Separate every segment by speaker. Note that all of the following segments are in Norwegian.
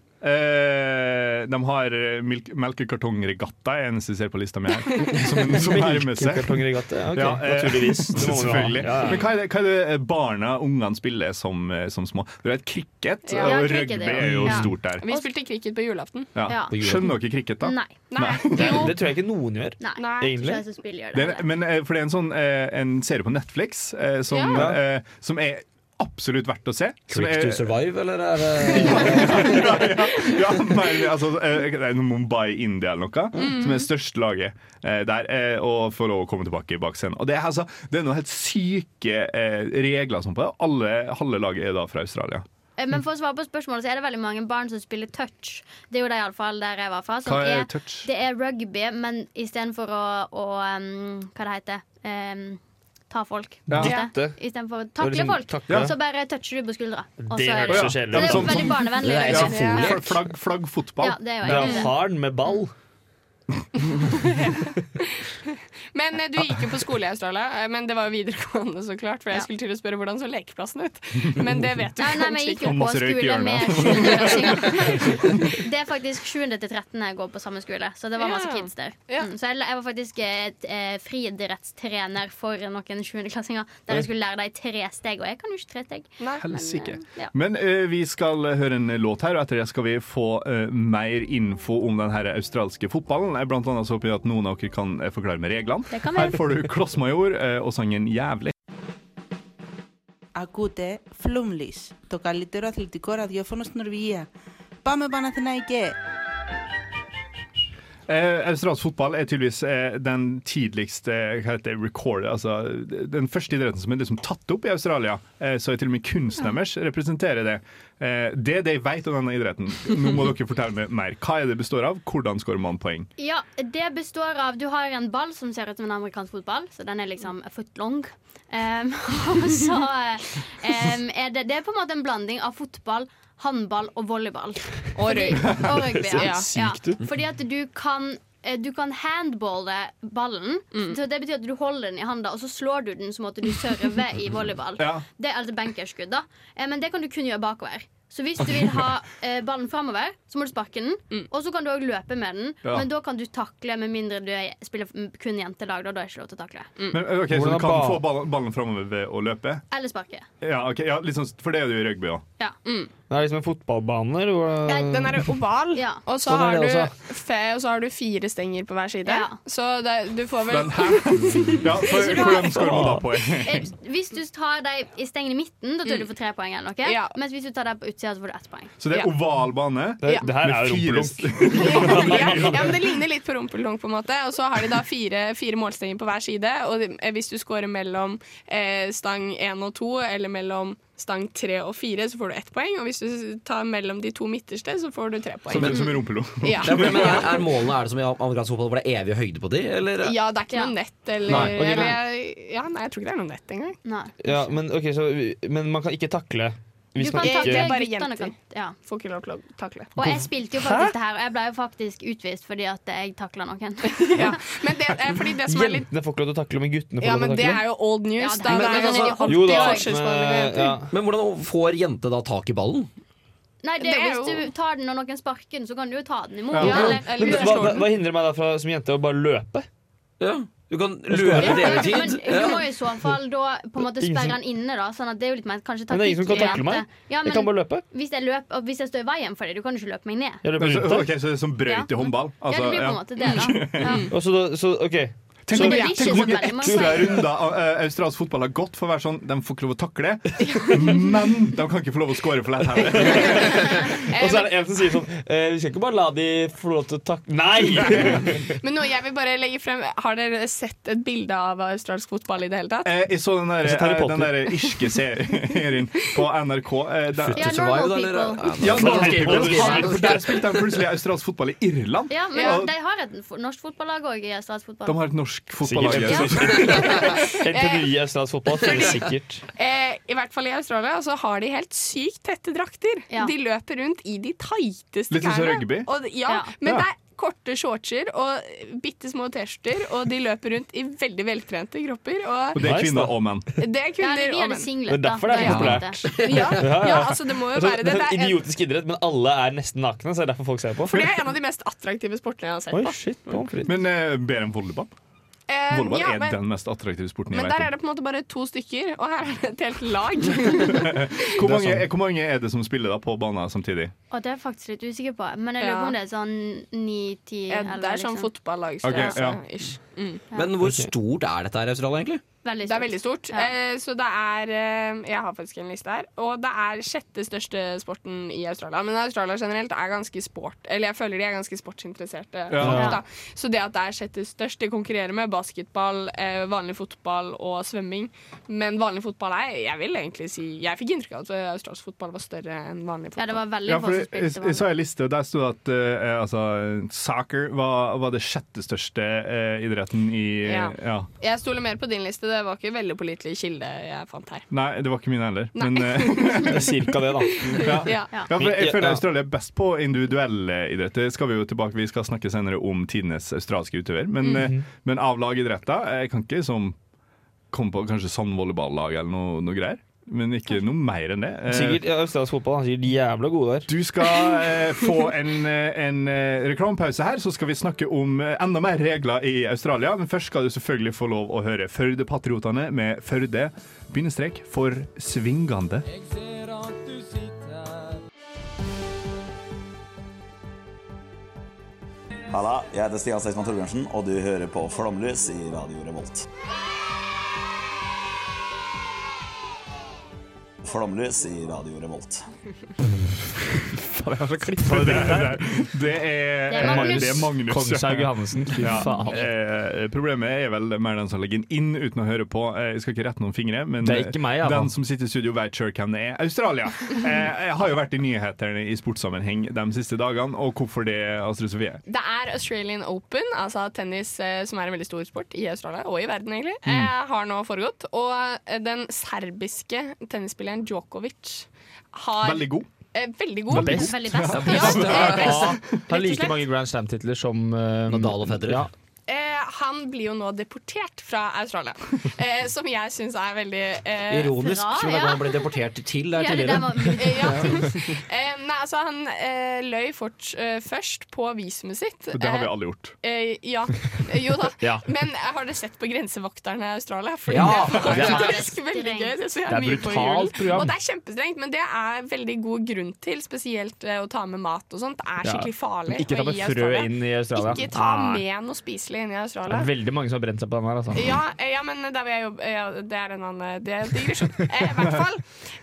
Speaker 1: Eh, de har eh, milk, melkekartongregatta, er eneste jeg ser på lista mi her. Som, som nærmer seg.
Speaker 2: Melkekartongregatte? Ja, ok,
Speaker 1: Ja, eh,
Speaker 2: naturligvis. Det må man jo ha.
Speaker 1: Selvfølgelig.
Speaker 2: Ja, ja.
Speaker 1: Men hva er det, hva er det eh, barna ungene spiller som, eh, som små? Du vet, Cricket
Speaker 3: Ja.
Speaker 4: Ja,
Speaker 1: og
Speaker 4: cricket,
Speaker 1: rugby
Speaker 4: ja.
Speaker 1: er jo
Speaker 4: Ja.
Speaker 1: stort der.
Speaker 3: Vi spilte cricket på julaften.
Speaker 1: Ja.
Speaker 4: Ja.
Speaker 1: Skjønner dere cricket, da?
Speaker 4: Nei.
Speaker 3: Nei,
Speaker 2: Det,
Speaker 3: jo.
Speaker 2: det tror jeg ikke noen gjør.
Speaker 4: Nei.
Speaker 3: Nei.
Speaker 4: Jeg tror ikke jeg som spiller gjør
Speaker 1: Det
Speaker 4: det.
Speaker 1: er, men eh, for det er en sånn eh, En serie på Netflix eh, som,
Speaker 3: Ja.
Speaker 1: eh, som er absolutt verdt å se. Som
Speaker 5: Quick to
Speaker 1: er,
Speaker 5: survive, eller er det
Speaker 1: ja, men, altså, eh, det er noe Mumbai, India eller noe, som er største laget eh, der, eh, og får lov å komme tilbake bak scenen. Og det er, altså, det er noen helt syke eh, regler og sånn på det. Alle, halve laget er da fra Australia.
Speaker 4: Eh, Men for å svare på spørsmålet, så er det veldig mange barn som spiller touch. Det er jo det iallfall der jeg var fra. som
Speaker 1: Hva er touch?
Speaker 4: Det er rugby, men istedenfor å, å um, Hva det heter um, Ta folk.
Speaker 1: Ja.
Speaker 2: Dytte.
Speaker 4: Istedenfor å
Speaker 2: er
Speaker 4: takle
Speaker 2: liksom
Speaker 4: folk,
Speaker 2: takle.
Speaker 4: så bare toucher du på skuldra. Og
Speaker 2: Det
Speaker 4: så er
Speaker 2: høres
Speaker 4: det.
Speaker 2: så
Speaker 4: Så det
Speaker 2: kjedelig
Speaker 4: er
Speaker 2: ut.
Speaker 4: jo
Speaker 1: Sånn-
Speaker 4: veldig barnevennlig.
Speaker 5: Det er
Speaker 4: rugby.
Speaker 5: isofolie.
Speaker 1: Fla- Flagg, flagg, fotball.
Speaker 4: Ja, det er jo
Speaker 2: Dra
Speaker 4: egentlig det.
Speaker 2: faren med ball.
Speaker 3: Men eh, du gikk jo på skole i Australia, eh, men det var jo videregående, så klart. For jeg skulle til å spørre hvordan så lekeplassen ut. Men det vet du
Speaker 4: Nei, nei, men
Speaker 3: kanskje
Speaker 4: jeg gikk
Speaker 3: ikke.
Speaker 1: Og
Speaker 4: jo på
Speaker 1: masse røyk i
Speaker 4: skole
Speaker 1: hjørnet.
Speaker 4: med 7.-klassinger. Det er faktisk 7. til 13. jeg går på samme skole, så det var masse
Speaker 3: Ja.
Speaker 4: kids der.
Speaker 3: Ja.
Speaker 4: Mm, så jeg, jeg var faktisk eh, et, eh, friidrettstrener for noen 7.-klassinger, der jeg skulle lære dem tre steg, og jeg kan jo ikke tre steg.
Speaker 3: Nei.
Speaker 1: Helsike.
Speaker 4: ja.
Speaker 1: Men eh, vi skal eh, høre en låt her, og etter det skal vi få eh, mer info om den her australske fotballen. Eh, Blant annet så håper jeg at noen av dere kan eh, forklare med reglene.
Speaker 4: Det kan vi.
Speaker 1: Her får du Klossmajor eh, og sangen 'Jævlig'.
Speaker 6: Ακούτε Flumlis, το καλύτερο αθλητικό ραδιόφωνο στην Νορβηγία. Πάμε Παναθηναϊκέ!
Speaker 1: Eh, Australsk fotball er tydeligvis eh, den tidligst eh, hva heter det, recorded, altså den første idretten som er liksom tatt opp i Australia. Eh, så er til og med kunstneren deres representerer det. Eh, det de vet om denne idretten. Nå må dere fortelle meg mer. Hva er det består av? Hvordan skårer man poeng?
Speaker 4: Ja, det består av Du har en ball som ser ut som en amerikansk fotball, så den er liksom a foot long. Em, og så eh, em, er det, det er på en måte en blanding av fotball, håndball og volleyball.
Speaker 3: Og røyk.
Speaker 4: Og rugby, ja. ja.
Speaker 2: sykt ut.
Speaker 4: Fordi at du kan eh, du kan handballe ballen. Så Det betyr at du holder den i handa, og så slår du den som at du server i volleyball.
Speaker 1: Ja.
Speaker 4: Det er altså bankerskudd, da. Eh, Men det kan du kun gjøre bakover. Så hvis du vil ha eh, ballen framover, så må du sparke den. Og så kan du òg løpe med den,
Speaker 1: Ja.
Speaker 4: men da kan du takle med mindre du er- spiller f- kun jentelag. Da, da er det ikke lov til å takle.
Speaker 1: Men, eh, ok, så
Speaker 2: Hvordan
Speaker 1: du
Speaker 2: er
Speaker 1: kan
Speaker 2: ba-
Speaker 1: få ballen, ballen framover ved å løpe?
Speaker 4: Eller sparke.
Speaker 1: Ja, ok, ja litt sånn, for det er det jo i rugby òg.
Speaker 4: Ja.
Speaker 2: Det er liksom en fotballbane. eller hvor-
Speaker 3: Ehm, Den er oval,
Speaker 4: Ehm, Ja.
Speaker 3: og, så
Speaker 2: Sånn er
Speaker 3: har
Speaker 2: det
Speaker 3: du fe, og så har du fire stenger på hver side.
Speaker 4: Ja.
Speaker 3: Så det, du får vel
Speaker 1: Men hæ? Ja, for, hvordan skårer man da poeng?
Speaker 4: Eh, Hvis du tar dem i stengen i midten, da tror jeg du får tre poeng. eller noe
Speaker 3: Ja.
Speaker 4: Mens hvis du tar dem på utsida, så får du ett poeng.
Speaker 1: Så det er
Speaker 3: Ja.
Speaker 1: oval bane.
Speaker 2: Det,
Speaker 3: Ja.
Speaker 2: det her er jo rumpelunk.
Speaker 1: fire
Speaker 3: ja, ja, men Det ligner litt på rumpeldunk, på en måte. Og så har de da fire, fire målstenger på hver side. Og de- eh, hvis du scorer mellom eh, stang én og to, eller mellom stang tre og fire, så får du ett poeng. Og hvis du tar mellom de to midterste, så får du tre
Speaker 1: som,
Speaker 3: poeng.
Speaker 1: som i rumpelo.
Speaker 3: Ja.
Speaker 5: Det er, men er, er målene er det som i amerikansk fotball, hvor det er evig høyde på de? Eller?
Speaker 3: ja, det er ikke noe nett, eller,
Speaker 5: Nei.
Speaker 2: Ok,
Speaker 3: eller ja, Nei, jeg tror ikke det er noe nett engang.
Speaker 4: Nei.
Speaker 2: Ja, men, ok, så, men man kan ikke takle
Speaker 4: Du
Speaker 2: hvis man
Speaker 4: kan
Speaker 3: ta
Speaker 2: ikke
Speaker 3: det.
Speaker 4: takle
Speaker 3: er bare
Speaker 4: guttene.
Speaker 3: jenter.
Speaker 4: Kan, ja.
Speaker 3: Får ikke lov til å takle.
Speaker 4: Og jeg spilte jo faktisk det her, og jeg ble jo faktisk utvist fordi at jeg takla noen.
Speaker 3: Ja. Men det, eh, fordi det som er litt
Speaker 2: Jentene får ikke lov til å takle, men guttene får
Speaker 3: Ja,
Speaker 2: lov til
Speaker 3: men
Speaker 2: å
Speaker 3: det er
Speaker 2: takle.
Speaker 3: jo old news.
Speaker 4: Ja, det
Speaker 3: da.
Speaker 4: er-
Speaker 3: Det
Speaker 4: men- altså-
Speaker 3: er
Speaker 4: men-
Speaker 3: sånn
Speaker 2: Jo da,
Speaker 3: alltid forskjellsbehandling av
Speaker 2: men,
Speaker 3: jenter.
Speaker 2: ja.
Speaker 5: Men hvordan får jente da tak i ballen?
Speaker 4: Nei, det, er
Speaker 3: Det er
Speaker 4: Hvis
Speaker 3: jo-
Speaker 4: du tar den og noen sparker den, så kan du jo ta den imot.
Speaker 1: Ja.
Speaker 4: Eller,
Speaker 3: Ja,
Speaker 2: Men
Speaker 3: Eller
Speaker 2: hva, hva,
Speaker 3: slår den.
Speaker 2: hva hindrer meg da fra, som jente å bare løpe?
Speaker 5: Ja. Du kan
Speaker 2: skal
Speaker 5: løpe
Speaker 2: være-
Speaker 4: Ja,
Speaker 5: deletid.
Speaker 4: men du må
Speaker 5: Ja.
Speaker 4: i så fall da på en måte
Speaker 2: Ingen som-
Speaker 4: sperre den inne, da. Sånn at det er jo litt mer kanskje
Speaker 2: Men det er ingen som kan
Speaker 4: taktikk-
Speaker 2: takle meg.
Speaker 4: Ja,
Speaker 2: Jeg kan
Speaker 4: men
Speaker 2: bare løpe.
Speaker 4: hvis jeg, løper, og hvis jeg står i veien for deg, du kan jo ikke løpe meg ned.
Speaker 2: Jeg løper rundt
Speaker 1: Ok,
Speaker 2: deg.
Speaker 1: så det er som brøyt i håndball.
Speaker 4: ja, det
Speaker 1: Altså,
Speaker 4: blir på en
Speaker 1: ja.
Speaker 4: måte det, da. Ja.
Speaker 2: Og så, da- så, ok
Speaker 1: Tenk
Speaker 4: Men
Speaker 1: om
Speaker 4: det
Speaker 1: det
Speaker 4: blir ikke
Speaker 1: tenk
Speaker 4: så
Speaker 1: om det
Speaker 4: veldig mange
Speaker 1: ekstra
Speaker 4: poeng.
Speaker 1: runder av eh, australsk fotball har gått for å være sånn De får ikke lov å takle, men de kan ikke få lov å score for lett heller.
Speaker 2: Og så er det en som sier sånn eh, Vi skal ikke bare la de få lov til å takle Nei!
Speaker 3: Men nå, jeg vil bare legge frem Har dere sett et bilde av australsk fotball i det hele tatt?
Speaker 1: Eh, Jeg så den
Speaker 2: Jeg
Speaker 1: der,
Speaker 2: så Harry
Speaker 1: eh, den der irske serien på NRK. eh, Der,
Speaker 4: Ja, normal people.
Speaker 1: ja,
Speaker 5: men-
Speaker 1: North Gable.
Speaker 5: North Gable.
Speaker 1: for der spilte de plutselig australsk fotball i Irland.
Speaker 4: Ja, men
Speaker 1: Ja.
Speaker 4: de har et f- norsk fotballag òg i
Speaker 1: De
Speaker 4: statsfotball.
Speaker 1: har et norsk fotballag.
Speaker 2: Sikkert.
Speaker 1: Ja.
Speaker 2: LTNI i australsk fotball finnes sikkert.
Speaker 3: Eh, I hvert fall i Australia så har de helt sykt tette drakter.
Speaker 4: Ja.
Speaker 3: De løper rundt i de tighteste
Speaker 1: Litt sånn som rugby?
Speaker 3: Og,
Speaker 4: Ja.
Speaker 3: ja, men
Speaker 1: Ja.
Speaker 3: det er korte shortser og bitte små T-skjorter, og de løper rundt i veldig veltrente kropper.
Speaker 1: Og
Speaker 3: Og
Speaker 1: det er
Speaker 2: Nice, da.
Speaker 1: kvinner og menn.
Speaker 3: det er
Speaker 4: Ja,
Speaker 3: kunder
Speaker 4: vi
Speaker 3: og
Speaker 4: hadde
Speaker 3: menn.
Speaker 2: Det
Speaker 4: singlet,
Speaker 2: er
Speaker 4: da.
Speaker 2: derfor det er
Speaker 4: Da gjorde
Speaker 2: populært.
Speaker 4: vi det.
Speaker 3: Ja,
Speaker 2: ja.
Speaker 3: ja, altså det må jo
Speaker 2: Altså,
Speaker 3: være det.
Speaker 2: det er
Speaker 3: Det er, en,
Speaker 2: idiotisk idrett, men alle er nesten nakne. Så det er derfor folk ser på.
Speaker 3: for det er en av de mest attraktive sportene jeg har sett
Speaker 2: Oi,
Speaker 3: på.
Speaker 2: shit, pommes frites.
Speaker 1: Men eh, bedre enn volleyball.
Speaker 3: Eh,
Speaker 1: Volleyball
Speaker 3: ja,
Speaker 1: er
Speaker 3: men,
Speaker 1: den mest attraktive sporten jeg
Speaker 3: men
Speaker 1: vet om.
Speaker 3: der er det på en måte bare to stykker, og her er det et helt lag.
Speaker 1: Hvor
Speaker 2: Det er sånn.
Speaker 1: mange, er hvor mange er det som spiller da på banen samtidig?
Speaker 4: Og det er jeg faktisk litt usikker på. Men jeg lurer på
Speaker 3: Ja.
Speaker 4: om det er sånn ni, ti,
Speaker 3: Ja,
Speaker 4: elleve.
Speaker 3: det er sånn
Speaker 4: liksom.
Speaker 1: Ok,
Speaker 3: fotballagsstørrelse.
Speaker 1: ja.
Speaker 3: ish.
Speaker 5: Men hvor stort er dette her i Australia, egentlig?
Speaker 3: Det er veldig stort. Eh, så det er eh, Jeg har faktisk en liste her. Og det er sjette største sporten i Australia. Men Australia generelt er ganske sport. Eller jeg føler de er ganske sportsinteresserte.
Speaker 7: Ja.
Speaker 3: folk, da. Så det at det er sjette størst, de konkurrerer med basketball, eh, vanlig fotball og svømming. Men vanlig fotball er Jeg vil egentlig si Jeg fikk inntrykk av at eh, australsk fotball var større enn vanlig fotball.
Speaker 4: Ja, det var veldig
Speaker 1: Ja, for jeg, jeg, jeg så en liste, og der sto det at eh, altså, soccer var, var det sjette største eh, idretten i
Speaker 3: Ja.
Speaker 1: ja.
Speaker 3: Jeg stoler mer på din liste. Det var ikke veldig pålitelig kilde jeg fant her.
Speaker 1: Nei, det var ikke mine heller.
Speaker 3: Nei.
Speaker 1: Men,
Speaker 2: Det er cirka det, da.
Speaker 1: Ja.
Speaker 3: Ja.
Speaker 1: Ja, for jeg føler
Speaker 2: Ja.
Speaker 1: Australia er best på individuelle idretter. Skal Vi jo tilbake, vi skal snakke senere om tidenes australske utøver. Men,
Speaker 2: Mhm.
Speaker 1: eh, men av lagidretter Jeg kan ikke som, komme på kanskje sandvolleyballag eller noe, noe greier. Men ikke noe mer enn det. Eh,
Speaker 2: Sikkert ja, Australsk fotball er sikkert jævla gode der.
Speaker 1: Du skal eh, få en, eh, en eh, reklamepause her, så skal vi snakke om eh, enda mer regler i Australia. Men først skal du selvfølgelig få lov å høre Førde-patriotene med Førde bindestrek for svingende.
Speaker 8: Halla, jeg heter Stian Seksmann Torbjørnsen, og du hører på Flomlys i Radio Revolt. Flomlys i Radio Revolt.
Speaker 2: Faen, jeg har så klippet
Speaker 1: Det,
Speaker 2: det der.
Speaker 1: er- det er
Speaker 2: Det er Magnus.
Speaker 1: Det er Magnus.
Speaker 2: Kongshaug Johannessen, fy
Speaker 1: Ja.
Speaker 2: faen.
Speaker 1: Eh, problemet er vel mer den som legger den inn uten å høre på. Eh, Jeg skal ikke rette noen fingre, men
Speaker 2: Det er ikke meg,
Speaker 1: eh,
Speaker 2: ja,
Speaker 1: den
Speaker 2: faen.
Speaker 1: som sitter i studio, vet sjøl hvem det er. Australia eh, jeg har jo vært i nyhetene i sportssammenheng de siste dagene, og hvorfor det, Astrid Sofie?
Speaker 3: Det er Australian Open, altså tennis eh, som er en veldig stor sport i Australia og i verden, egentlig,
Speaker 1: Mm.
Speaker 3: eh, har nå foregått. Og eh, den serbiske tennisspilleren Djokovic har
Speaker 2: Veldig god.
Speaker 3: Eh, veldig god.
Speaker 2: Ja,
Speaker 3: Ja, eh, best.
Speaker 2: Har like mange Grand Slam-titler som Nadal og Federer. Ja.
Speaker 3: Eh, han blir jo nå deportert fra Australia, eh, som jeg syns er veldig eh,
Speaker 5: Ironisk. som det han ble deportert til der
Speaker 3: Ja, det
Speaker 5: tidligere.
Speaker 3: Eh, nei, altså Han eh, løy fort, eh, først på visumet sitt.
Speaker 1: Det har vi alle gjort.
Speaker 3: Eh, ja. Eh, Jo da.
Speaker 1: Ja.
Speaker 3: Men eh, har dere sett på Grensevakterne i Australia? Fordi
Speaker 1: Ja, det
Speaker 3: det er
Speaker 1: er-
Speaker 3: faktisk veldig gøy. Det, ser jeg
Speaker 1: Det er
Speaker 3: mye på i
Speaker 1: brutalt
Speaker 3: julen.
Speaker 1: program.
Speaker 3: Og det er kjempestrengt, men det er veldig god grunn til, spesielt eh, å ta med mat og sånt. Det er
Speaker 2: Ja.
Speaker 3: skikkelig farlig.
Speaker 2: Ikke ta
Speaker 3: å
Speaker 2: med
Speaker 3: gi
Speaker 2: frø inn i Australia.
Speaker 3: Ikke ta
Speaker 2: Nei.
Speaker 3: med noe spiselig inn i
Speaker 2: Det
Speaker 3: Australia.
Speaker 2: er veldig mange som har brent seg på den her. Altså.
Speaker 3: Ja, eh, ja, men der vil jeg jobbe ja, Det er en annen det er en digresjon. Eh, I hvert fall.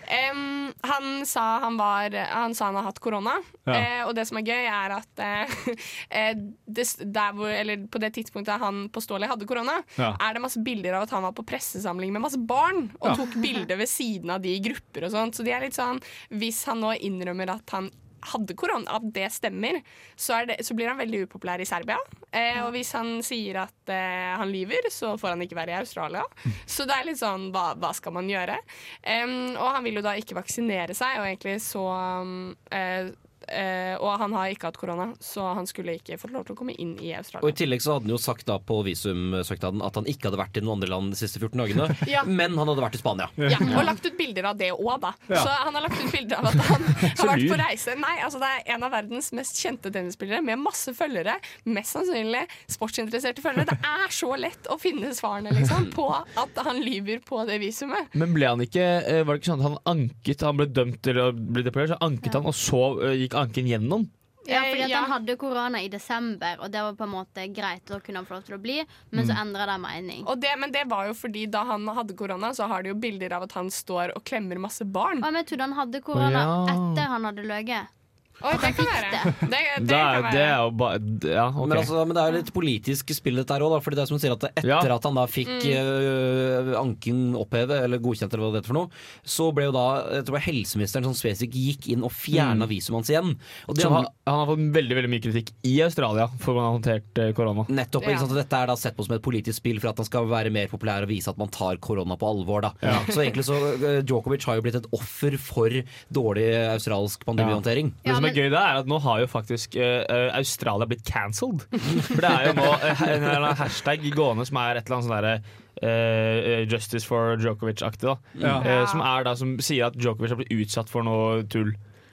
Speaker 3: em, han, sa han, var, han sa han har hatt korona,
Speaker 7: Ja.
Speaker 3: eh, og det som er gøy, er at eh, eh, det, der hvor, eller på det tidspunktet han påståelig hadde korona,
Speaker 7: Ja.
Speaker 3: er det masse bilder av at han var på pressesamling med masse barn og
Speaker 7: Ja.
Speaker 3: tok bilder ved siden av de i grupper og sånt. Så de er litt sånn Hvis han nå innrømmer at han hadde korona, at det stemmer, så, er det, så blir han veldig upopulær i Serbia. Eh, og hvis han sier at eh, han lyver, så får han ikke være i Australia. Så det er litt sånn, hva, hva skal man gjøre? Em, og han vil jo da ikke vaksinere seg, og egentlig så um, eh, eh, Og han har ikke hatt korona, så han skulle ikke fått lov til å komme inn i Australia.
Speaker 5: Og I tillegg så hadde han jo sagt da på visumsøknaden at han ikke hadde vært i noen andre land de siste 14 dagene,
Speaker 3: Ja.
Speaker 5: men han hadde vært i Spania.
Speaker 3: Ja, og lagt ut bilder av det òg, da.
Speaker 5: Ja.
Speaker 3: Så han har lagt ut bilder av at han har vært
Speaker 5: lur.
Speaker 3: på reise. Nei, altså Det er en av verdens mest kjente tennisspillere med masse følgere. Mest sannsynlig sportsinteresserte følgere. Det er så lett å finne svarene liksom på at han lyver på det visumet.
Speaker 2: Men ble han ikke eh, Var det ikke sånn at han anket Han ble dømt til å bli deportert, så anket han, og så eh, gikk anken gjennom?
Speaker 4: Ja, fordi at
Speaker 3: ja.
Speaker 4: han hadde korona i desember, og det var på en måte greit. Da kunne han få lov til å bli, men så
Speaker 2: Mm.
Speaker 4: endra det mening.
Speaker 3: Og det, men det var jo fordi da han hadde korona, så har de jo bilder av at han står og klemmer masse barn.
Speaker 4: Og jeg trodde han hadde korona
Speaker 2: Å, ja.
Speaker 4: etter han hadde løyet.
Speaker 3: Oi, det kan være. Det, det
Speaker 2: Det
Speaker 3: kan
Speaker 2: er,
Speaker 3: være.
Speaker 2: det er jo bare Ja, ok.
Speaker 5: Men, altså, men det er jo litt politisk spill dette her òg, fordi det er som du sier at etter at han da fikk øh, anken opphevet, eller godkjent eller hva det heter for noe, så ble jo da jeg tror det var helseministeren som spesifikt gikk inn og fjerna
Speaker 2: Mm.
Speaker 5: visumet hans igjen. Og det
Speaker 2: Så han,
Speaker 5: handler-
Speaker 2: han har fått veldig veldig mye kritikk i Australia for hvordan han har håndtert eh, korona.
Speaker 5: Nettopp, ikke sant? Og Dette er da sett på som et politisk spill for at han skal være mer populær og vise at man tar korona på alvor. Da.
Speaker 2: Ja.
Speaker 5: Så egentlig så eh, Djokovic har jo blitt et offer for dårlig australsk pandemihåndtering.
Speaker 2: Det som er gøy, det er at nå har jo faktisk eh, eh, Australia blitt cancelled. For det er jo nå eh, en eller annen hashtag gående som er et eller annet sånn derre eh, eh, Justice for Djokovic-aktig, da.
Speaker 4: Ja.
Speaker 2: Eh, som er da som sier at Djokovic har blitt utsatt for noe tull.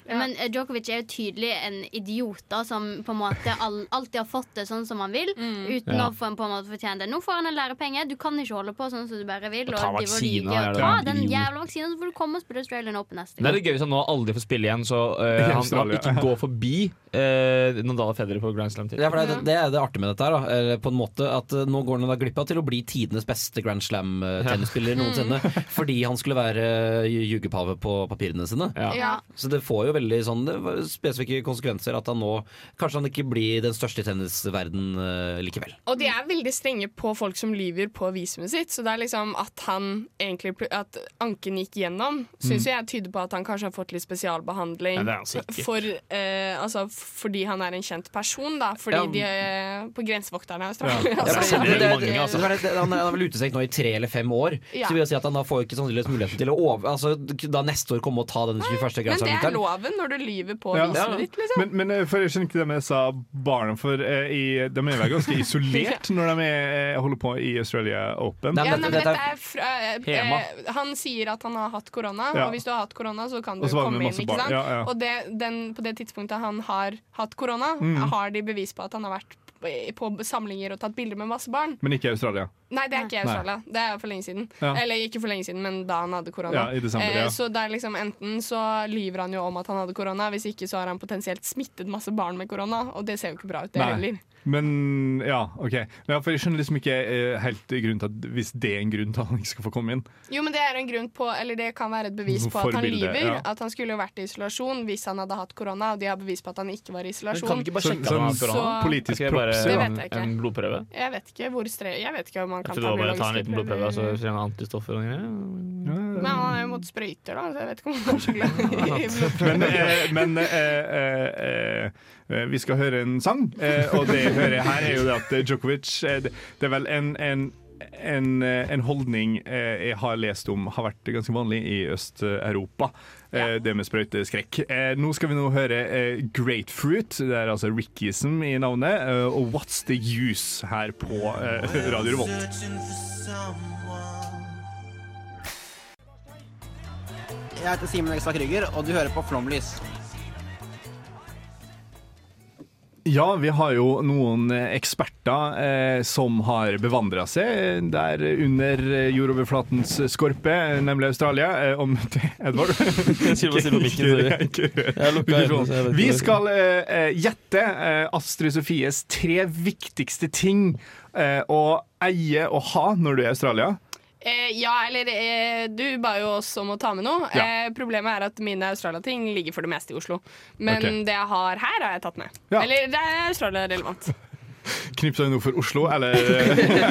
Speaker 4: Men eh, Djokovic er jo tydelig en idiot da, som på en måte all, alltid har fått det sånn som han vil. Uten
Speaker 2: Ja.
Speaker 4: å få en på en måte fortjene det. Nå får han en lærepenge. Du kan ikke holde på sånn som du bare vil.
Speaker 2: Og
Speaker 4: Og
Speaker 2: ta
Speaker 4: drive og
Speaker 2: vaksiner,
Speaker 4: lyge
Speaker 2: er
Speaker 4: og
Speaker 2: det
Speaker 4: ta
Speaker 2: en
Speaker 4: den
Speaker 2: idiot?
Speaker 4: jævla vaksinen, så får du komme og spille Australian Open neste
Speaker 2: Det er litt gøy hvis han nå aldri får spille igjen, så eh,
Speaker 1: I
Speaker 2: han, han
Speaker 1: Australia,
Speaker 2: ikke
Speaker 1: ja.
Speaker 2: går forbi eh, Nadal og Federer på Grand Slam til.
Speaker 7: Ja, for det, er- det er det artige med dette her. Da. Eller, På en måte at eh, Nå går han da glipp av til å bli tidenes beste Grand Slam-tennisspiller
Speaker 2: Ja.
Speaker 7: noensinne. Fordi han skulle være eh, jugepave på papirene sine.
Speaker 2: Ja.
Speaker 7: Så det får jo veldig sånn det var spesifikke konsekvenser at han nå Kanskje han ikke blir den største i tennisverden eh, likevel.
Speaker 3: Og de er veldig strenge på folk som lyver på visumet sitt. Så det er liksom at han egentlig pl- At anken gikk gjennom, syns
Speaker 2: Mm.
Speaker 3: jo jeg tyder på at han kanskje har fått litt spesialbehandling.
Speaker 2: Nei, det er altså ikke.
Speaker 3: for, eh, altså, f- fordi han er en kjent person, da. Fordi
Speaker 7: Ja.
Speaker 3: de eh, på Grensevokterne i
Speaker 7: Ja,
Speaker 3: Australia.
Speaker 7: men
Speaker 3: altså.
Speaker 7: det- det- det- det var det- Han er han er vel utestengt nå i tre eller fem år.
Speaker 3: Ja.
Speaker 7: Så vil jeg si at han da får ikke sannsynligvis muligheten til å over, altså, da neste år komme og ta den 21.
Speaker 2: altså,
Speaker 3: Men det er
Speaker 7: gradsavgiften.
Speaker 3: loven når du lyver på
Speaker 1: Ja.
Speaker 3: visumet ditt, liksom.
Speaker 1: Men, men eh, for jeg skjønner ikke det med disse barna, for eh, i, de er vel ganske isolert når de er, eh, holder på i Australia Open.
Speaker 3: ja, nei, men dette er fra, eh,
Speaker 1: Hema.
Speaker 3: eh, han sier at han har hatt korona,
Speaker 1: Ja.
Speaker 3: og hvis du har hatt korona, så kan du
Speaker 1: Og så var det
Speaker 3: komme inn.
Speaker 1: masse
Speaker 3: Ikke
Speaker 1: barn.
Speaker 3: sant?
Speaker 1: Ja, ja.
Speaker 3: Og det, den, på det tidspunktet han har hatt korona,
Speaker 1: Mm.
Speaker 3: har de bevis på at han har vært på, på samlinger og tatt bilder med masse barn.
Speaker 1: Men ikke i Australia.
Speaker 3: Nei, det er ikke
Speaker 1: Nei.
Speaker 3: i Australia. Det er for lenge siden.
Speaker 1: Ja.
Speaker 3: Eller ikke for lenge siden, men da han hadde korona.
Speaker 1: Ja, i desember, ja.
Speaker 3: Eh, Så det er liksom enten så lyver han jo om at han hadde korona, hvis ikke så har han potensielt smittet masse barn med korona, og det ser jo ikke bra ut, det
Speaker 1: Nei.
Speaker 3: heller.
Speaker 1: Men ja, OK. Men ja, for jeg skjønner liksom ikke eh, helt grunnen til at Hvis det er en grunn til at han ikke skal få komme inn.
Speaker 3: Jo, men det er en grunn på Eller det kan være et bevis på at han
Speaker 1: Forbilde,
Speaker 3: lyver.
Speaker 1: ja.
Speaker 3: At han skulle jo vært i isolasjon hvis han hadde hatt korona, og de har bevis på at han ikke var i isolasjon.
Speaker 2: Kan vi ikke bare sjekke
Speaker 1: Sånn-
Speaker 2: om han har
Speaker 1: sånn
Speaker 2: korona?
Speaker 1: politisk
Speaker 2: Kan ikke bare
Speaker 1: props,
Speaker 3: Det
Speaker 2: ta
Speaker 3: vet
Speaker 2: en-
Speaker 3: jeg ikke.
Speaker 2: En blodprøve?
Speaker 3: Jeg vet ikke hvor stre... Jeg vet ikke om han
Speaker 2: Jeg
Speaker 3: kan
Speaker 2: trodde det
Speaker 3: ta
Speaker 2: var bare å ta en
Speaker 3: biologiske
Speaker 2: liten blodprøve altså. og så
Speaker 3: prøver.
Speaker 2: trene antistoffer og greier.
Speaker 3: Men han er jo mot sprøyter, da, så jeg vet ikke om han er så glad i
Speaker 1: Men, eh, men eh, eh, eh, vi skal høre en sang, eh, og det jeg hører her, er jo det at Djokovic eh, det- Det er vel en, en en, eh, en holdning eh, jeg har lest om har vært ganske vanlig i Øst-Europa. Eh, Det med sprøyteskrekk. Eh, nå skal vi nå høre eh, Grapefruit, det er altså Rickism i navnet, eh, og What's The Use her på eh, Radio Revolt.
Speaker 9: Jeg heter Simen Ekstad Krüger, og du hører på Flomlys.
Speaker 1: Ja, vi har jo noen eh, eksperter eh, som har bevandra seg eh, der under eh, jordoverflatens skorpe, eh, nemlig Australia. Eh, om det, Edvard?
Speaker 2: Sier hva sier på mikken, sorry.
Speaker 1: Ikke- ikke-
Speaker 2: Jeg lukka øynene, så jeg vet ikke
Speaker 1: Vi
Speaker 2: hva-
Speaker 1: skal eh, eh, gjette eh, Astrid Sofies tre viktigste ting eh, å eie og ha når du er i Australia.
Speaker 3: Eh, ja, eller eh, du ba jo oss om å ta med noe.
Speaker 1: Ja.
Speaker 3: Eh, problemet er at mine Australia-ting ligger for det meste i Oslo. Men
Speaker 1: Ok.
Speaker 3: det jeg har her, har jeg tatt med.
Speaker 1: Ja.
Speaker 3: Eller det er Australia-relevant.
Speaker 1: Knipsa hun noe for Oslo, eller
Speaker 2: Ja,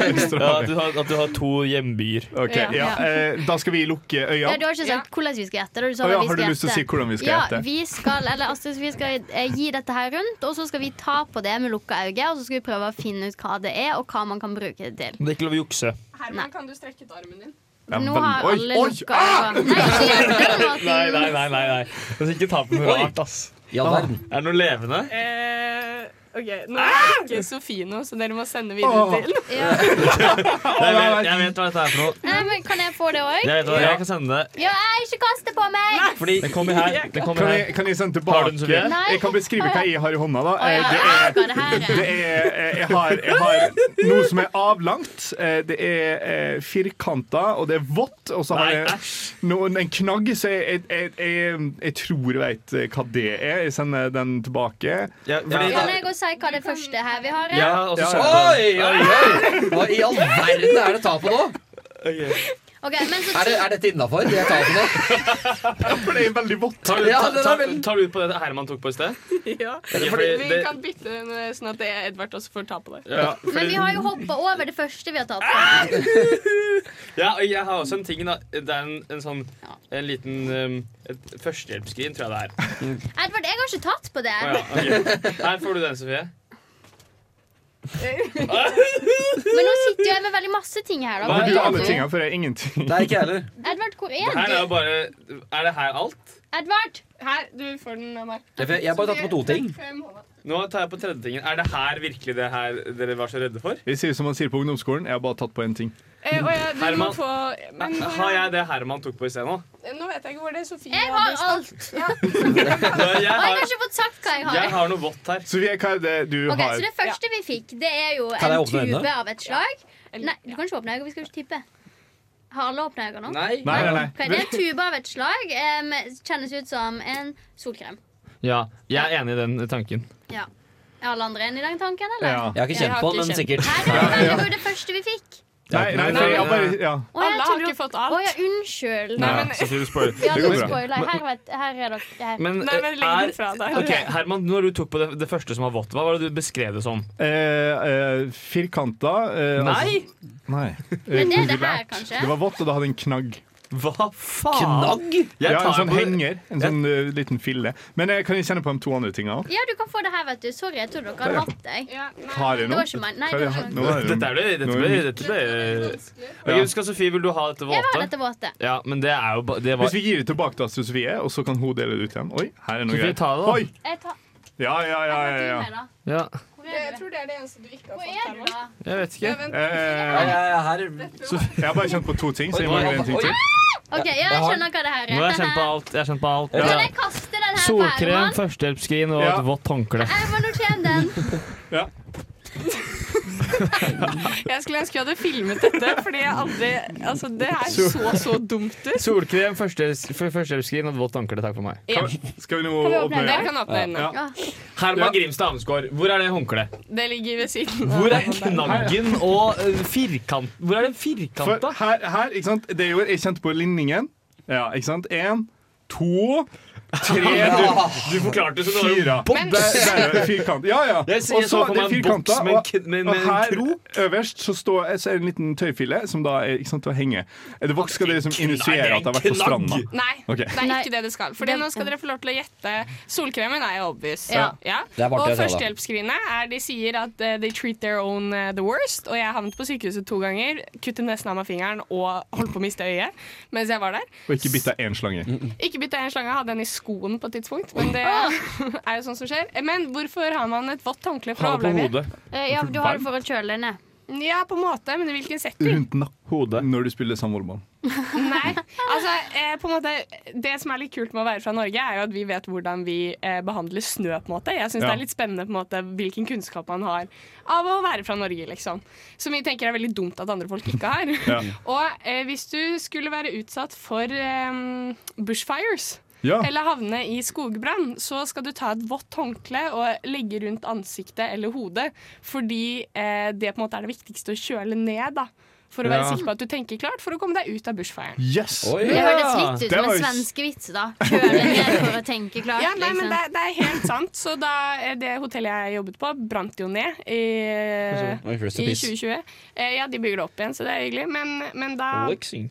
Speaker 2: at,
Speaker 1: Australia?
Speaker 2: du har, at du har to hjembyer.
Speaker 1: Ok, ja.
Speaker 4: Ja.
Speaker 1: eh, da skal vi lukke øya.
Speaker 4: Nei, du har ikke sagt hvordan vi skal gjette. da. Du
Speaker 1: Å, ja,
Speaker 4: sa at vi
Speaker 1: har du
Speaker 4: skal
Speaker 1: lyst til å
Speaker 4: gjette.
Speaker 1: si hvordan vi skal
Speaker 4: ja,
Speaker 1: gjette?
Speaker 4: Vi skal, eller Astrid, vi skal eh, gi dette her rundt, og så skal vi ta på det med lukka øyne. Og så skal vi prøve å finne ut hva det er, og hva man kan bruke det til.
Speaker 2: Men det er ikke lov å jukse.
Speaker 3: Herman, kan du strekke ut armen din?
Speaker 2: Ja,
Speaker 4: Nå
Speaker 2: vel-
Speaker 4: har
Speaker 2: Oi,
Speaker 4: alle
Speaker 2: oi,
Speaker 4: lukka øynene. Nei, ikke gjør det på den måten.
Speaker 2: Nei, nei, nei. nei, nei. Altså, ikke ta på noe
Speaker 5: Oi.
Speaker 2: rart, ass.
Speaker 5: I all
Speaker 2: Ah,
Speaker 5: verden.
Speaker 2: Er det noe levende?
Speaker 3: Eh, OK, nå er det ikke Sofie noe, så dere må sende
Speaker 2: Ah! Åh.
Speaker 3: videre til.
Speaker 2: Jeg vet, jeg vet hva dette er for noe.
Speaker 4: Nei, men Kan jeg få det
Speaker 2: Jeg, vet
Speaker 4: òg?
Speaker 2: hva, jeg kan sende det.
Speaker 4: Ja, jeg, ikke kast det på meg!
Speaker 2: Fordi Den kommer her. Den kommer
Speaker 1: kan,
Speaker 2: her.
Speaker 1: jeg, kan jeg sende
Speaker 2: Har du
Speaker 1: tilbake?
Speaker 2: den, Sofie? Nei.
Speaker 1: Jeg kan beskrive hva jeg har i hånda. da Eh,
Speaker 4: ja,
Speaker 1: Det
Speaker 4: jeg
Speaker 1: er,
Speaker 4: har det her,
Speaker 1: det er eh, jeg, har, jeg har noe som er avlangt. eh, Det er eh, firkanta, og det er vått. Og så har
Speaker 2: Nei,
Speaker 1: jeg noen, en knagg, så jeg, jeg, jeg, jeg, jeg tror jeg veit hva det er. Jeg sender den tilbake.
Speaker 2: fordi
Speaker 4: Kan jeg også si hva det første her vi har? er?
Speaker 1: Ja, og så søk på
Speaker 5: Oi, oi, oi! Hva i all verden er det ta på nå?
Speaker 4: Ok, men så
Speaker 5: Er, det, er dette innafor? Det jeg tar på nå?
Speaker 1: For det er veldig vått.
Speaker 2: Tar du,
Speaker 5: Ja,
Speaker 2: ta-
Speaker 5: den er
Speaker 2: ta-
Speaker 5: veldig-
Speaker 2: tar du ut på det Herman tok på i sted?
Speaker 3: Ja.
Speaker 2: Ja, fordi
Speaker 3: Vi
Speaker 2: det-
Speaker 3: kan bytte eh, sånn at det er Edvard også får ta på det.
Speaker 2: Ja, fordi-
Speaker 4: Men vi har jo hoppa over det første vi har tatt
Speaker 1: Ah!
Speaker 4: på.
Speaker 2: Ja, og jeg har også en ting, da. Det er en, en sånn en liten um, et førstehjelpsskrin, tror jeg det er.
Speaker 4: Edvard, jeg har ikke tatt på det.
Speaker 2: Å, ja, ok. Her får du den, Sofie.
Speaker 4: Men nå sitter jo jeg med veldig masse ting her. da
Speaker 1: Har du alle
Speaker 4: Edvard,
Speaker 1: tingene, for jeg er ingenting.
Speaker 5: Nei, ikke heller.
Speaker 4: Edvard, hvor
Speaker 2: Det
Speaker 4: er
Speaker 2: her er jo
Speaker 4: du?
Speaker 2: bare Er det her alt?
Speaker 4: Edvard!
Speaker 3: Her, du får den av meg.
Speaker 2: Jeg får- jeg har bare tatt
Speaker 3: Sofie,
Speaker 2: på to ting.
Speaker 3: trekk frem hånda.
Speaker 2: Nå tar jeg på tredje tingen. Er det her virkelig det her dere var så redde for?
Speaker 1: Jeg sier som man sier på ungdomsskolen, jeg har bare tatt på én ting.
Speaker 3: Eh, og ja, du må
Speaker 2: Herman.
Speaker 3: få men,
Speaker 2: Har jeg det Herman tok på i sted nå?
Speaker 3: Nå vet jeg ikke hvor det er Sofie
Speaker 4: Jeg har
Speaker 3: hadde i
Speaker 4: alt.
Speaker 3: stad. Ja.
Speaker 2: Nå,
Speaker 4: Og
Speaker 2: Jeg
Speaker 4: jeg har
Speaker 2: har,
Speaker 4: ikke fått sagt hva jeg
Speaker 2: jeg
Speaker 4: har.
Speaker 2: har noe vått her.
Speaker 1: Sofie, hva er det du
Speaker 4: Ok,
Speaker 1: har?
Speaker 4: Så det første vi fikk, det er jo
Speaker 1: Kan jeg
Speaker 4: en
Speaker 1: åpne øynene?
Speaker 4: tube av et slag. Nei, du kan ikke åpne øynene. Vi skal ikke tippe. Har alle åpna øynene nå?
Speaker 2: Nei. Nei, nei, nei.
Speaker 4: Ok, det er en tube av et slag. em, kjennes ut som en solkrem.
Speaker 2: Ja, jeg er enig i den tanken.
Speaker 4: Ja. Er alle andre enig i den tanken, eller?
Speaker 2: Ja. Jeg har ikke kjent på den, men sikkert.
Speaker 4: Nei, det var
Speaker 2: Ja.
Speaker 4: veldig jo det første vi fikk.
Speaker 1: Nei, nei, for jeg bare ja.
Speaker 4: Å, jeg Alle har ikke fått alt. Å ja, unnskyld.
Speaker 1: Nei, men- Ja, så sier du spoil.
Speaker 4: Ja,
Speaker 1: Det går
Speaker 4: nå
Speaker 1: bra.
Speaker 4: spoiler jeg. Her, vet, her er dere her.
Speaker 2: Men, eh, er- Ok, Herman, når du tok på det, det første som var vått, hva var det du beskrev det som?
Speaker 1: Eh, eh, firkanta eh,
Speaker 2: Nei!
Speaker 1: altså- nei.
Speaker 2: Men det er det
Speaker 1: Kurvert.
Speaker 2: her, kanskje?
Speaker 1: Det var vått, og det hadde en knagg.
Speaker 2: Hva
Speaker 1: faen?
Speaker 2: Knagg? Jeg
Speaker 1: Ja, en
Speaker 2: tar
Speaker 1: sånn
Speaker 2: på det.
Speaker 1: henger. En sånn eh, liten fille. Men eh, kan jeg kjenne på de to andre tinga òg?
Speaker 4: Ja, du kan få det her, vet du. Sorry, jeg trodde dere
Speaker 1: Ja.
Speaker 4: hadde hatt deg.
Speaker 1: Har jeg
Speaker 4: Det
Speaker 1: noe?
Speaker 4: var ikke meg.
Speaker 1: Hva
Speaker 4: Nei,
Speaker 1: er det
Speaker 4: det
Speaker 1: jeg
Speaker 4: var
Speaker 1: har-
Speaker 4: ikke
Speaker 1: Nå er det-
Speaker 2: Dette er det, dette
Speaker 1: nå
Speaker 2: ble,
Speaker 1: er det-
Speaker 2: dette ble Ok, Skal Sofie, vil du ha dette
Speaker 4: Jeg var
Speaker 2: våte?
Speaker 4: dette våte.
Speaker 2: Ja, men det er jo ba- det var,
Speaker 1: Hvis vi gir det tilbake til Sofie, og så kan hun dele det ut igjen. Oi, her er noe
Speaker 2: Sofie,
Speaker 1: greier.
Speaker 2: ta det da.
Speaker 1: Oi!
Speaker 4: Jeg tar
Speaker 1: Ja, ja, ja. ja, ja.
Speaker 2: ja.
Speaker 3: Jeg tror det er det eneste du ikke har fått. Herman.
Speaker 2: Jeg vet
Speaker 3: Ja,
Speaker 2: ikke.
Speaker 3: vent.
Speaker 1: Sofie, Eh, jeg har bare kjent på to ting, så jeg
Speaker 2: Oi, oi,
Speaker 1: mangler en ting
Speaker 2: oi.
Speaker 1: til.
Speaker 4: OK, ja, jeg skjønner hva det her
Speaker 2: Nå
Speaker 4: er.
Speaker 2: har jeg
Speaker 4: Den
Speaker 2: kjent på
Speaker 4: her.
Speaker 2: alt. Jeg har kjent på alt.
Speaker 4: Kan jeg kaste den her på
Speaker 2: Solkrem,
Speaker 4: Herman?
Speaker 2: førstehjelpsskrin og
Speaker 1: Ja.
Speaker 2: et vått håndkle.
Speaker 4: Herman, nå kommer den.
Speaker 3: Jeg skulle ønske vi hadde filmet dette, fordi jeg aldri Altså, det her
Speaker 2: Sol-
Speaker 3: så så dumt ut.
Speaker 2: Solkrem, førstehjelps- f- førstehjelpsskrin og et vått håndkle. Takk for meg.
Speaker 3: Ja.
Speaker 1: Skal vi nå
Speaker 3: Kan vi åpne øynene? Jeg kan åpne øynene.
Speaker 2: Ja. Herman Grimstad Amsgaard, hvor er det håndkleet?
Speaker 3: Det ligger ved siden
Speaker 2: Hvor er knaggen og eh, firkant... Hvor er den firkanta?
Speaker 1: For her, her, ikke sant Det gjorde jeg kjente på linningen. Ja, ikke sant? Én, to, tre du,
Speaker 2: Du forklarte det som det
Speaker 1: Fire.
Speaker 2: var jo
Speaker 1: Der, der, er
Speaker 2: boks!
Speaker 1: firkant. Ja, ja.
Speaker 2: Jeg ser- jeg så for meg en
Speaker 1: firkanta,
Speaker 2: boks med en
Speaker 1: og-
Speaker 2: kid- med- med
Speaker 1: og
Speaker 2: en
Speaker 1: her
Speaker 2: krok.
Speaker 1: øverst så, står, så er det en liten tøyfille som da er ikke sant, til å henge. Er det voks skal det liksom initiere at det har vært på stranda?
Speaker 3: Nei,
Speaker 1: Ok.
Speaker 3: det er ikke det det skal. Fordi nå skal dere få lov til å gjette. Solkremen er jo obvious.
Speaker 1: Ja. Det er bare
Speaker 3: Og
Speaker 1: det, da.
Speaker 3: førstehjelpsskrinet er de sier at eh, they treat their own eh, the worst. Og jeg havnet på sykehuset to ganger, kuttet nesten av meg fingeren og holdt på å miste øyet mens jeg var der.
Speaker 1: Og ikke bitt av én slange.
Speaker 3: Mm. Ikke bytta en slange, jeg hadde den i skoen på et tidspunkt. Men det er jo sånn som skjer. Men hvorfor har man et vått håndkle for å
Speaker 1: Ha det på
Speaker 3: overleve?
Speaker 1: hodet.
Speaker 4: Eh, Ja, du har det for å kjøle deg ned.
Speaker 3: Ja, på en måte, men i hvilken setting?
Speaker 1: Rundt na- hodet når du spiller samvolleyball.
Speaker 3: Nei. Altså, eh, på en måte, det som er litt kult med å være fra Norge, er jo at vi vet hvordan vi eh, behandler snø. på en måte. Jeg syns
Speaker 10: Ja.
Speaker 3: det er litt spennende på en måte, hvilken kunnskap man har av å være fra Norge. liksom. Som vi tenker er veldig dumt at andre folk ikke har.
Speaker 1: Ja.
Speaker 3: Og eh, hvis du skulle være utsatt for eh, bushfires
Speaker 1: Ja.
Speaker 3: eller havne i skogbrann, så skal du ta et vått håndkle og legge rundt ansiktet eller hodet, fordi eh, det på en måte er det viktigste å kjøle ned. da. For å være
Speaker 1: Ja.
Speaker 3: sikker på at du tenker klart for å komme deg ut av bushfiren.
Speaker 1: Yes!
Speaker 4: Det hørtes litt ut
Speaker 1: Det
Speaker 4: som
Speaker 1: var
Speaker 4: en
Speaker 1: jo-
Speaker 4: svenske vits, da. Kjøle ned for å tenke klart.
Speaker 3: Ja, nei, men
Speaker 4: liksom.
Speaker 3: det, er- det er helt sant. Så da eh, det hotellet jeg jobbet på, brant jo ned i,
Speaker 5: Oi,
Speaker 3: i
Speaker 5: rest in peace.
Speaker 3: 2020. Eh, Ja, de bygger det opp igjen, så det er hyggelig. Men, men da
Speaker 5: Relaxing.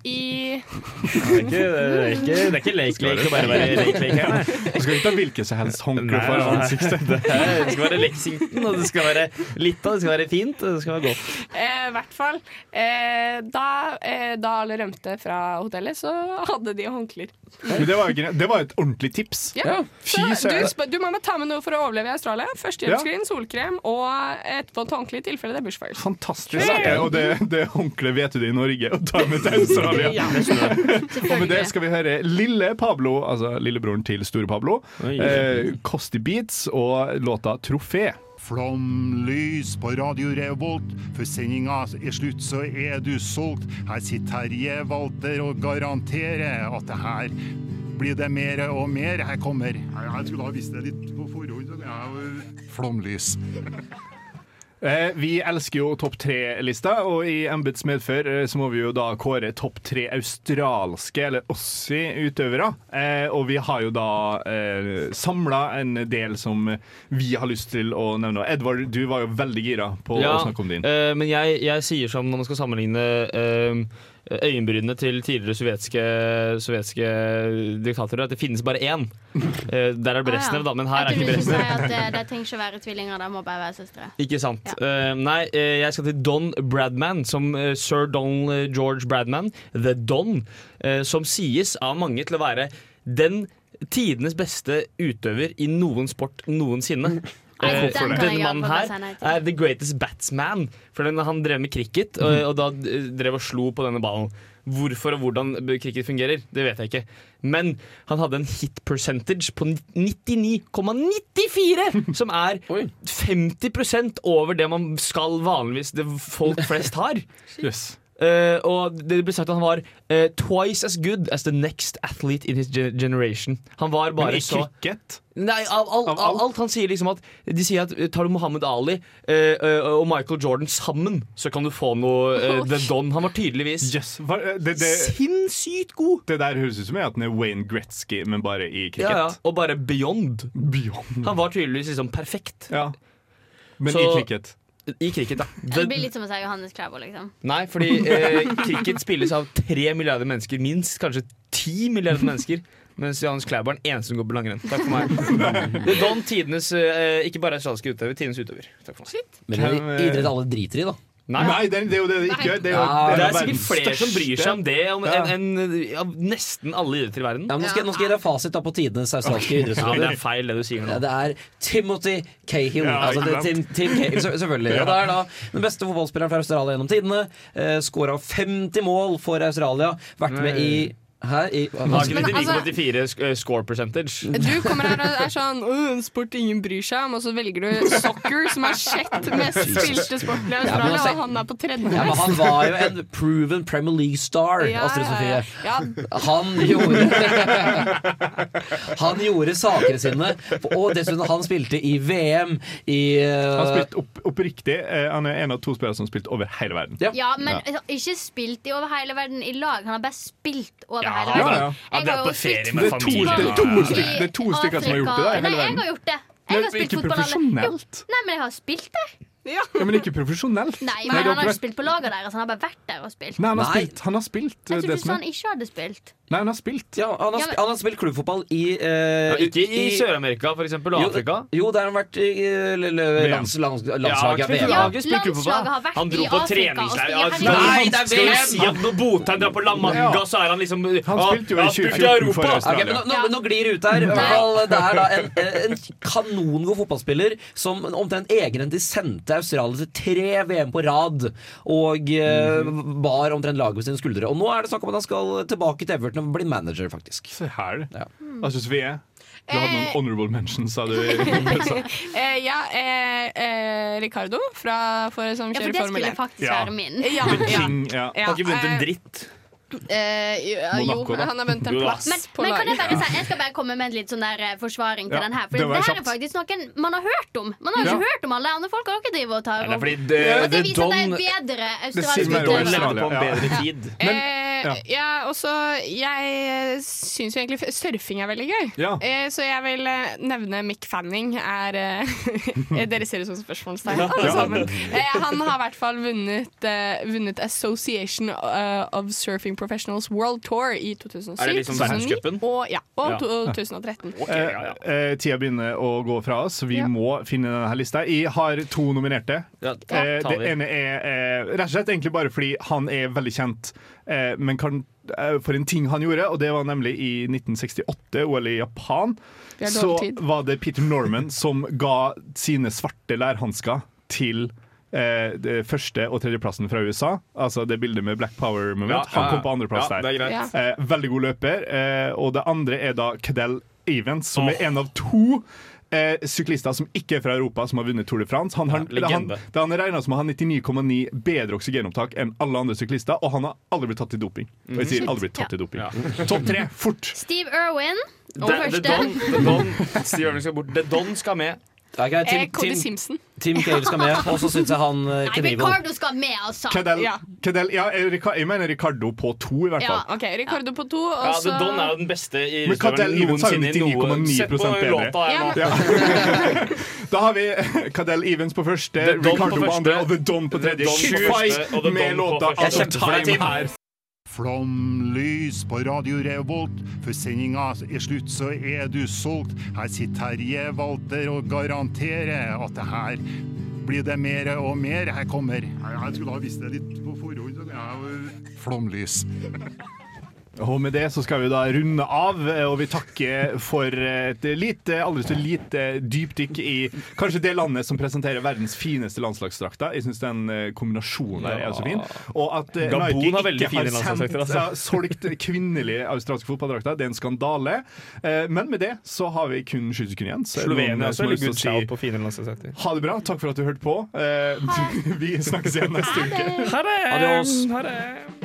Speaker 2: Det
Speaker 3: i
Speaker 2: er ikke- det er ikke- det er ikke lek-lek å bare være lek-lek her, nei.
Speaker 1: Du skal ikke ta hvilket som helst håndkle
Speaker 2: Nei,
Speaker 1: for
Speaker 2: nei.
Speaker 1: ansiktet.
Speaker 2: Det er- det skal være Lexington, og det skal være litt av det skal være fint, og det skal være godt.
Speaker 3: eh, hvert fall eh, da, eh, da alle rømte fra hotellet, så hadde de håndklær.
Speaker 1: Men det var, jo ikke, det var et ordentlig tips.
Speaker 3: Ja.
Speaker 1: Fy
Speaker 3: Så du,
Speaker 1: søren.
Speaker 3: sp- du må bare ta med noe for å overleve i Australia. Førstehjelpsskrin, solkrem og et vått håndkle i tilfelle det er bushfire.
Speaker 1: Fantastisk. Ja, Og det, det håndkleet vet du det i Norge, og tar med til Australia.
Speaker 3: Ja.
Speaker 1: og med det skal vi høre lille Pablo, altså lillebroren til store Pablo, eh, Kosti Beats og låta 'Trofé'.
Speaker 10: Flomlys på Radio Revolt. Før sendinga er slutt, så er du solgt. Her sitter Terje Walter og garanterer at det her blir det mer og mer. Her kommer Jeg skulle ha visst det litt på forhånd. så jeg- Flomlys.
Speaker 1: Eh, vi elsker jo topp tre-lista, og i embets medfør eh, så må vi jo da kåre topp tre australske, eller Ossi-utøvere. Eh, og vi har jo da eh, samla en del som vi har lyst til å nevne. Edvard, du var jo veldig gira på
Speaker 2: Ja,
Speaker 1: å snakke om din.
Speaker 2: eh, men jeg, jeg sier som når man skal sammenligne eh, øyenbrynene til tidligere sovjetiske, sovjetiske diktatorer, at det finnes bare én. Eh, der er det Brezhnev, da, men her er
Speaker 4: jeg
Speaker 2: ikke
Speaker 4: kunne ikke si
Speaker 2: Brezhnev.
Speaker 4: at det, det trenger ikke å være tvillinger, det må bare være søstre.
Speaker 2: Ikke sant. Eh, nei, eh, jeg skal til Don Bradman, som eh, sir Donald George Bradman, The Don, eh, som sies av mange til å være den tidenes beste utøver i noen sport noensinne.
Speaker 7: Nei,
Speaker 2: Eh,
Speaker 7: den kan jeg
Speaker 2: Denne
Speaker 7: hjelpe
Speaker 2: mannen
Speaker 7: meg
Speaker 2: her
Speaker 7: si nei til.
Speaker 2: er the greatest batsman, for den, han drev med cricket, og, og da eh, drev og slo på denne ballen. Hvorfor og hvordan cricket fungerer, det vet jeg ikke. Men han hadde en hit percentage på 99,94! Som er 50 over det man skal vanligvis det folk flest har. Eh, og det ble sagt at han var eh, twice as good as the next athlete in his ge- generation. Han var bare
Speaker 1: Men i
Speaker 2: så
Speaker 1: cricket?
Speaker 2: Nei, av, all- av alt. Han sier liksom at De sier at eh, tar du Mohammed Ali eh, eh, og Michael Jordan sammen, så kan du få noe eh, The Don. Han var tydeligvis
Speaker 1: Sinnssykt god! eh, Det der høres ut som jeg at han er Wayne Gretzky, men bare i cricket.
Speaker 2: Ja, ja. Og bare beyond. Han var tydeligvis liksom perfekt.
Speaker 1: Men
Speaker 2: Så-
Speaker 1: i cricket.
Speaker 2: I cricket, da.
Speaker 4: Det blir litt som å si Johannes Klæbo, liksom.
Speaker 2: Nei, fordi eh, cricket spilles av tre milliarder mennesker, minst kanskje ti milliarder mennesker. Mens Johannes Klæbo er den eneste som går på langrenn. Takk for meg. Det er Don tidenes eh, ikke bare australske utøver, tidenes utøver. Takk for meg.
Speaker 5: Men det
Speaker 2: eh,
Speaker 5: er idrett alle driter i, da.
Speaker 2: Nei,
Speaker 1: det, er jo det det ikke gjør. Det er, jo,
Speaker 5: Nei.
Speaker 2: det
Speaker 1: jo
Speaker 2: er sikkert
Speaker 1: verdens
Speaker 2: flere som bryr seg om det om,
Speaker 1: Ja.
Speaker 2: enn enn av nesten alle idretter i verden.
Speaker 5: Ja, men nå, skal, jeg- nå skal jeg gjøre fasit da på tidenes australske
Speaker 2: Nei, det er
Speaker 5: idrettsutøver.
Speaker 2: feil, det du sier
Speaker 5: Ja,
Speaker 2: nå.
Speaker 5: det er Timothy Cahill.
Speaker 2: Ja,
Speaker 5: altså, det
Speaker 2: ikke
Speaker 5: er Tim,
Speaker 2: sant?
Speaker 5: Tim Cahill selv- selvfølgelig.
Speaker 2: Ja.
Speaker 5: Og det er da den beste fotballspilleren fra Australia gjennom tidene. Eh, Skåra 50 mål for Australia. Vært med i Hæ? I,
Speaker 2: Har ikke
Speaker 3: Men altså-
Speaker 2: 99,84 sk- eh, score percentage?
Speaker 3: Du kommer her og er sånn «Åh, en sport ingen bryr seg om, og så velger du soccer, som er sjett mest spilte sporten i
Speaker 5: Ja, men
Speaker 3: Australia,
Speaker 5: altså-
Speaker 3: og han er på
Speaker 5: Ja, men han
Speaker 3: tredjeplass.
Speaker 5: var jo en proven Premier League-star,
Speaker 3: Ja,
Speaker 5: Astrid
Speaker 3: ja,
Speaker 5: Sofie.
Speaker 3: ja.
Speaker 5: Han gjorde Han gjorde sakene sine, og dessuten han spilte i VM i eh,
Speaker 1: Han spilte opp, oppriktig. eh, Han er en av to spillere som har spilt over hele verden.
Speaker 4: Ja, men altså, ikke spilt i over hele verden i lag. Han har bare spilt over
Speaker 1: Ja,
Speaker 4: hele
Speaker 1: ja,
Speaker 4: verden.
Speaker 1: ja.
Speaker 4: Jeg
Speaker 1: Ja,
Speaker 4: har
Speaker 1: det er
Speaker 4: jo
Speaker 1: på ferie
Speaker 4: spilt
Speaker 1: med
Speaker 4: fotball
Speaker 1: familien. Det er to- det er to
Speaker 4: i
Speaker 1: stykker- det er to stykker som har gjort det, da, i hele
Speaker 4: Afrika.
Speaker 1: verden.
Speaker 4: Nei, jeg har gjort det.
Speaker 1: Nei,
Speaker 4: Jeg har spilt
Speaker 1: ikke
Speaker 4: fotball alle-
Speaker 1: profesjonelt.
Speaker 4: Jo, Nei, men jeg har spilt det.
Speaker 1: Ja, men ikke profesjonelt.
Speaker 4: Nei,
Speaker 1: Nei,
Speaker 4: men
Speaker 1: det
Speaker 4: han har
Speaker 1: var-
Speaker 4: ikke spilt på laget deres. Han har bare vært der og spilt.
Speaker 1: Nei, han har spilt. Han har spilt. eh,
Speaker 4: Jeg trodde
Speaker 1: det
Speaker 4: du
Speaker 1: som
Speaker 4: sa
Speaker 1: er-
Speaker 4: han ikke sånn- hadde spilt.
Speaker 1: Nei, han har spilt.
Speaker 5: Ja, han har,
Speaker 4: Ja,
Speaker 5: sp-
Speaker 4: men-
Speaker 5: han har spilt klubbfotball i eh,
Speaker 2: Ja, ikke i
Speaker 5: i-
Speaker 2: Sør-Amerika, for eksempel, og
Speaker 5: Jo,
Speaker 2: Afrika.
Speaker 5: Jo, der har han vært i eh, l- l- lands, lands, landslaget.
Speaker 2: Knut
Speaker 5: VM.
Speaker 2: Hagen spilte klubb på
Speaker 4: landslaget
Speaker 2: banen.
Speaker 4: har vært
Speaker 2: Han dro
Speaker 4: i
Speaker 2: på
Speaker 4: Afrika
Speaker 2: treningsleir.
Speaker 4: og spiller
Speaker 2: Ja,
Speaker 4: her
Speaker 5: i Norge. Nei, det er
Speaker 2: skal du
Speaker 5: VM.
Speaker 2: si at når Botheim drar på La Manga,
Speaker 5: Ja.
Speaker 2: så er han liksom
Speaker 5: Han spilte jo i 2014 for Australia. Ok, men nå- nå- nå glir det ut her. I hvert fall, Det er da en, en kanongod fotballspiller som omtrent egenhendig sendte Australia til tre VM på rad og eh,
Speaker 2: Mhm.
Speaker 5: bar omtrent laget på sine skuldre. Og nå er det snakk om at han skal tilbake til Everton og bli manager, faktisk.
Speaker 1: Se her. Hva syns vi er? Du hadde noen
Speaker 3: Eh.
Speaker 1: honorable mentions, sa du. i-
Speaker 3: Eh, ja, eh, eh, Ricardo fra, for, som
Speaker 4: Ja, for
Speaker 3: kjører
Speaker 4: det
Speaker 3: Formel
Speaker 4: skulle
Speaker 3: 1.
Speaker 4: faktisk Ja. være min.
Speaker 3: Ja,
Speaker 4: The
Speaker 3: ja.
Speaker 4: King,
Speaker 1: ja.
Speaker 3: Ja,
Speaker 2: Har ikke vunnet en
Speaker 3: eh,
Speaker 2: dritt.
Speaker 3: Eh, ja, jo,
Speaker 2: Monaco, da.
Speaker 3: han har vunnet en
Speaker 2: Jo, da.
Speaker 3: plass
Speaker 4: Men,
Speaker 3: på
Speaker 4: men kan jeg,
Speaker 3: laget.
Speaker 4: bare si, jeg skal bare komme med en litt sånn der eh, forsvaring til
Speaker 2: Ja,
Speaker 4: den her.
Speaker 2: det
Speaker 4: For det,
Speaker 2: var
Speaker 4: her er
Speaker 2: kjapt.
Speaker 4: faktisk noen man har hørt om. Man har jo
Speaker 2: Ja.
Speaker 4: ikke hørt om alle andre folk. Har dere driver og
Speaker 2: Nei,
Speaker 4: tar
Speaker 2: det er fordi
Speaker 4: opp.
Speaker 2: det-
Speaker 4: Så
Speaker 2: det
Speaker 4: det viser at det
Speaker 2: Don-
Speaker 4: er bedre
Speaker 2: sier
Speaker 4: australske
Speaker 2: meg jo
Speaker 4: utøvere.
Speaker 2: levde på en bedre tid.
Speaker 3: Eh, ja. også Jeg syns jo egentlig f- surfing er veldig gøy.
Speaker 2: Ja.
Speaker 3: Eh, så jeg vil eh, nevne Mick Fanning er eh, Dere ser ut som spørsmålstegn,
Speaker 11: Ja.
Speaker 3: alle
Speaker 11: Ja.
Speaker 3: sammen. Eh, han har i hvert fall vunnet, eh, vunnet Association eh, of Surfing Professionals World Tour i 2007.
Speaker 2: Er det liksom
Speaker 3: 2009,
Speaker 2: verdenscupen?
Speaker 3: Og, ja, og
Speaker 1: Ja.
Speaker 3: 2013.
Speaker 1: Eh, eh, Tida begynner å gå fra oss. Vi
Speaker 3: Ja.
Speaker 1: må finne denne her lista. Jeg har to nominerte.
Speaker 2: Ja,
Speaker 3: ta-
Speaker 1: Eh,
Speaker 2: ta
Speaker 1: det
Speaker 2: de.
Speaker 1: ene er eh, rett og slett egentlig bare fordi han er veldig kjent, eh, men kan, eh, for en ting han gjorde, og det var nemlig i 1968, OL i Japan.
Speaker 3: Vi har
Speaker 1: Så
Speaker 3: dårlig tid.
Speaker 1: var det Peter Norman som ga sine svarte lærhansker til eh, det første- og tredjeplassen fra USA. Altså det bildet med Black Power Moment.
Speaker 2: Ja, ja,
Speaker 1: Han
Speaker 2: ja.
Speaker 1: kom på andreplass
Speaker 2: Ja,
Speaker 1: der.
Speaker 2: det er greit.
Speaker 1: Eh, veldig god løper. Eh, og det andre er da Cadell Evans, som
Speaker 2: Åh.
Speaker 1: er en av to eh, syklister som ikke er fra Europa, som har vunnet Tour de France. Han har,
Speaker 2: Ja,
Speaker 1: han,
Speaker 2: legende.
Speaker 1: det han er regnet som å ha 99,9 bedre oksygenopptak enn alle andre syklister, og han har aldri blitt tatt i doping. Og jeg
Speaker 2: Mm.
Speaker 1: sier aldri blitt tatt i doping. Topp tre, fort!
Speaker 4: Steve Irwin og
Speaker 2: The, the Don,
Speaker 4: første.
Speaker 2: the Don, Steve Irving skal bort. The Don skal med.
Speaker 5: Tim-
Speaker 4: Eh, Cody Tim- Simpson.
Speaker 5: Tim Cahill skal med, og så syns jeg han eh,
Speaker 4: Nei,
Speaker 5: Knievel
Speaker 4: Ricardo skal med, altså.
Speaker 1: Cadell, Cadell, ja, eh, Rica- jeg mener Ricardo på to, i hvert fall.
Speaker 3: Ja, OK. Ricardo på to,
Speaker 2: Ja,
Speaker 3: og så
Speaker 2: The Don er jo den beste i
Speaker 1: Men Cadell
Speaker 2: historien
Speaker 1: Evans har jo
Speaker 2: noensinne i noe.
Speaker 1: 99,9
Speaker 2: Sett på
Speaker 1: bedre.
Speaker 2: låta her nå.
Speaker 1: Ja. Da har vi Cadell Evans på første,
Speaker 2: The Don på
Speaker 1: Ricardo på
Speaker 2: første,
Speaker 1: andre og The Don på
Speaker 2: The
Speaker 1: tredje.
Speaker 2: Don på
Speaker 1: Sju
Speaker 2: første, og The
Speaker 1: fight med
Speaker 2: Don på
Speaker 1: låta
Speaker 2: første. Jeg
Speaker 1: Out of
Speaker 2: kjemper for deg,
Speaker 1: Time
Speaker 2: Tim.
Speaker 1: her.
Speaker 10: Flomlys på Radio Revolt, for sendinga er slutt, så er du solgt. Her sitter Terje Walter og garanterer at det her blir det mer og mer. Her kommer Jeg skulle ha visst det litt på forhånd. Flomlys.
Speaker 1: Og med det så skal vi da runde av, eh, og vi takker for eh, et lite, aldri så lite dypdykk i kanskje det landet som presenterer verdens fineste landslagsdrakter. Jeg syns den eh, kombinasjonen der er så fin. Og at eh,
Speaker 2: Gabon
Speaker 1: Nike
Speaker 2: har veldig
Speaker 1: ikke har
Speaker 2: fine
Speaker 1: sendt,
Speaker 2: landslagsdrakter, altså.
Speaker 1: solgt kvinnelige australske fotballdrakter, det er en skandale. Eh, Men med det så har vi kun sju sekunder igjen. Så er det noen
Speaker 2: Slovenia
Speaker 1: som
Speaker 2: også
Speaker 1: har
Speaker 2: legger
Speaker 1: lyst til å
Speaker 2: ut
Speaker 1: si-
Speaker 2: shout på fine landslagsakter.
Speaker 1: ha det bra. Takk for at du hørte på. Eh, Vi snakkes igjen neste uke.
Speaker 2: Ha det!
Speaker 1: Adios.
Speaker 2: Ha det.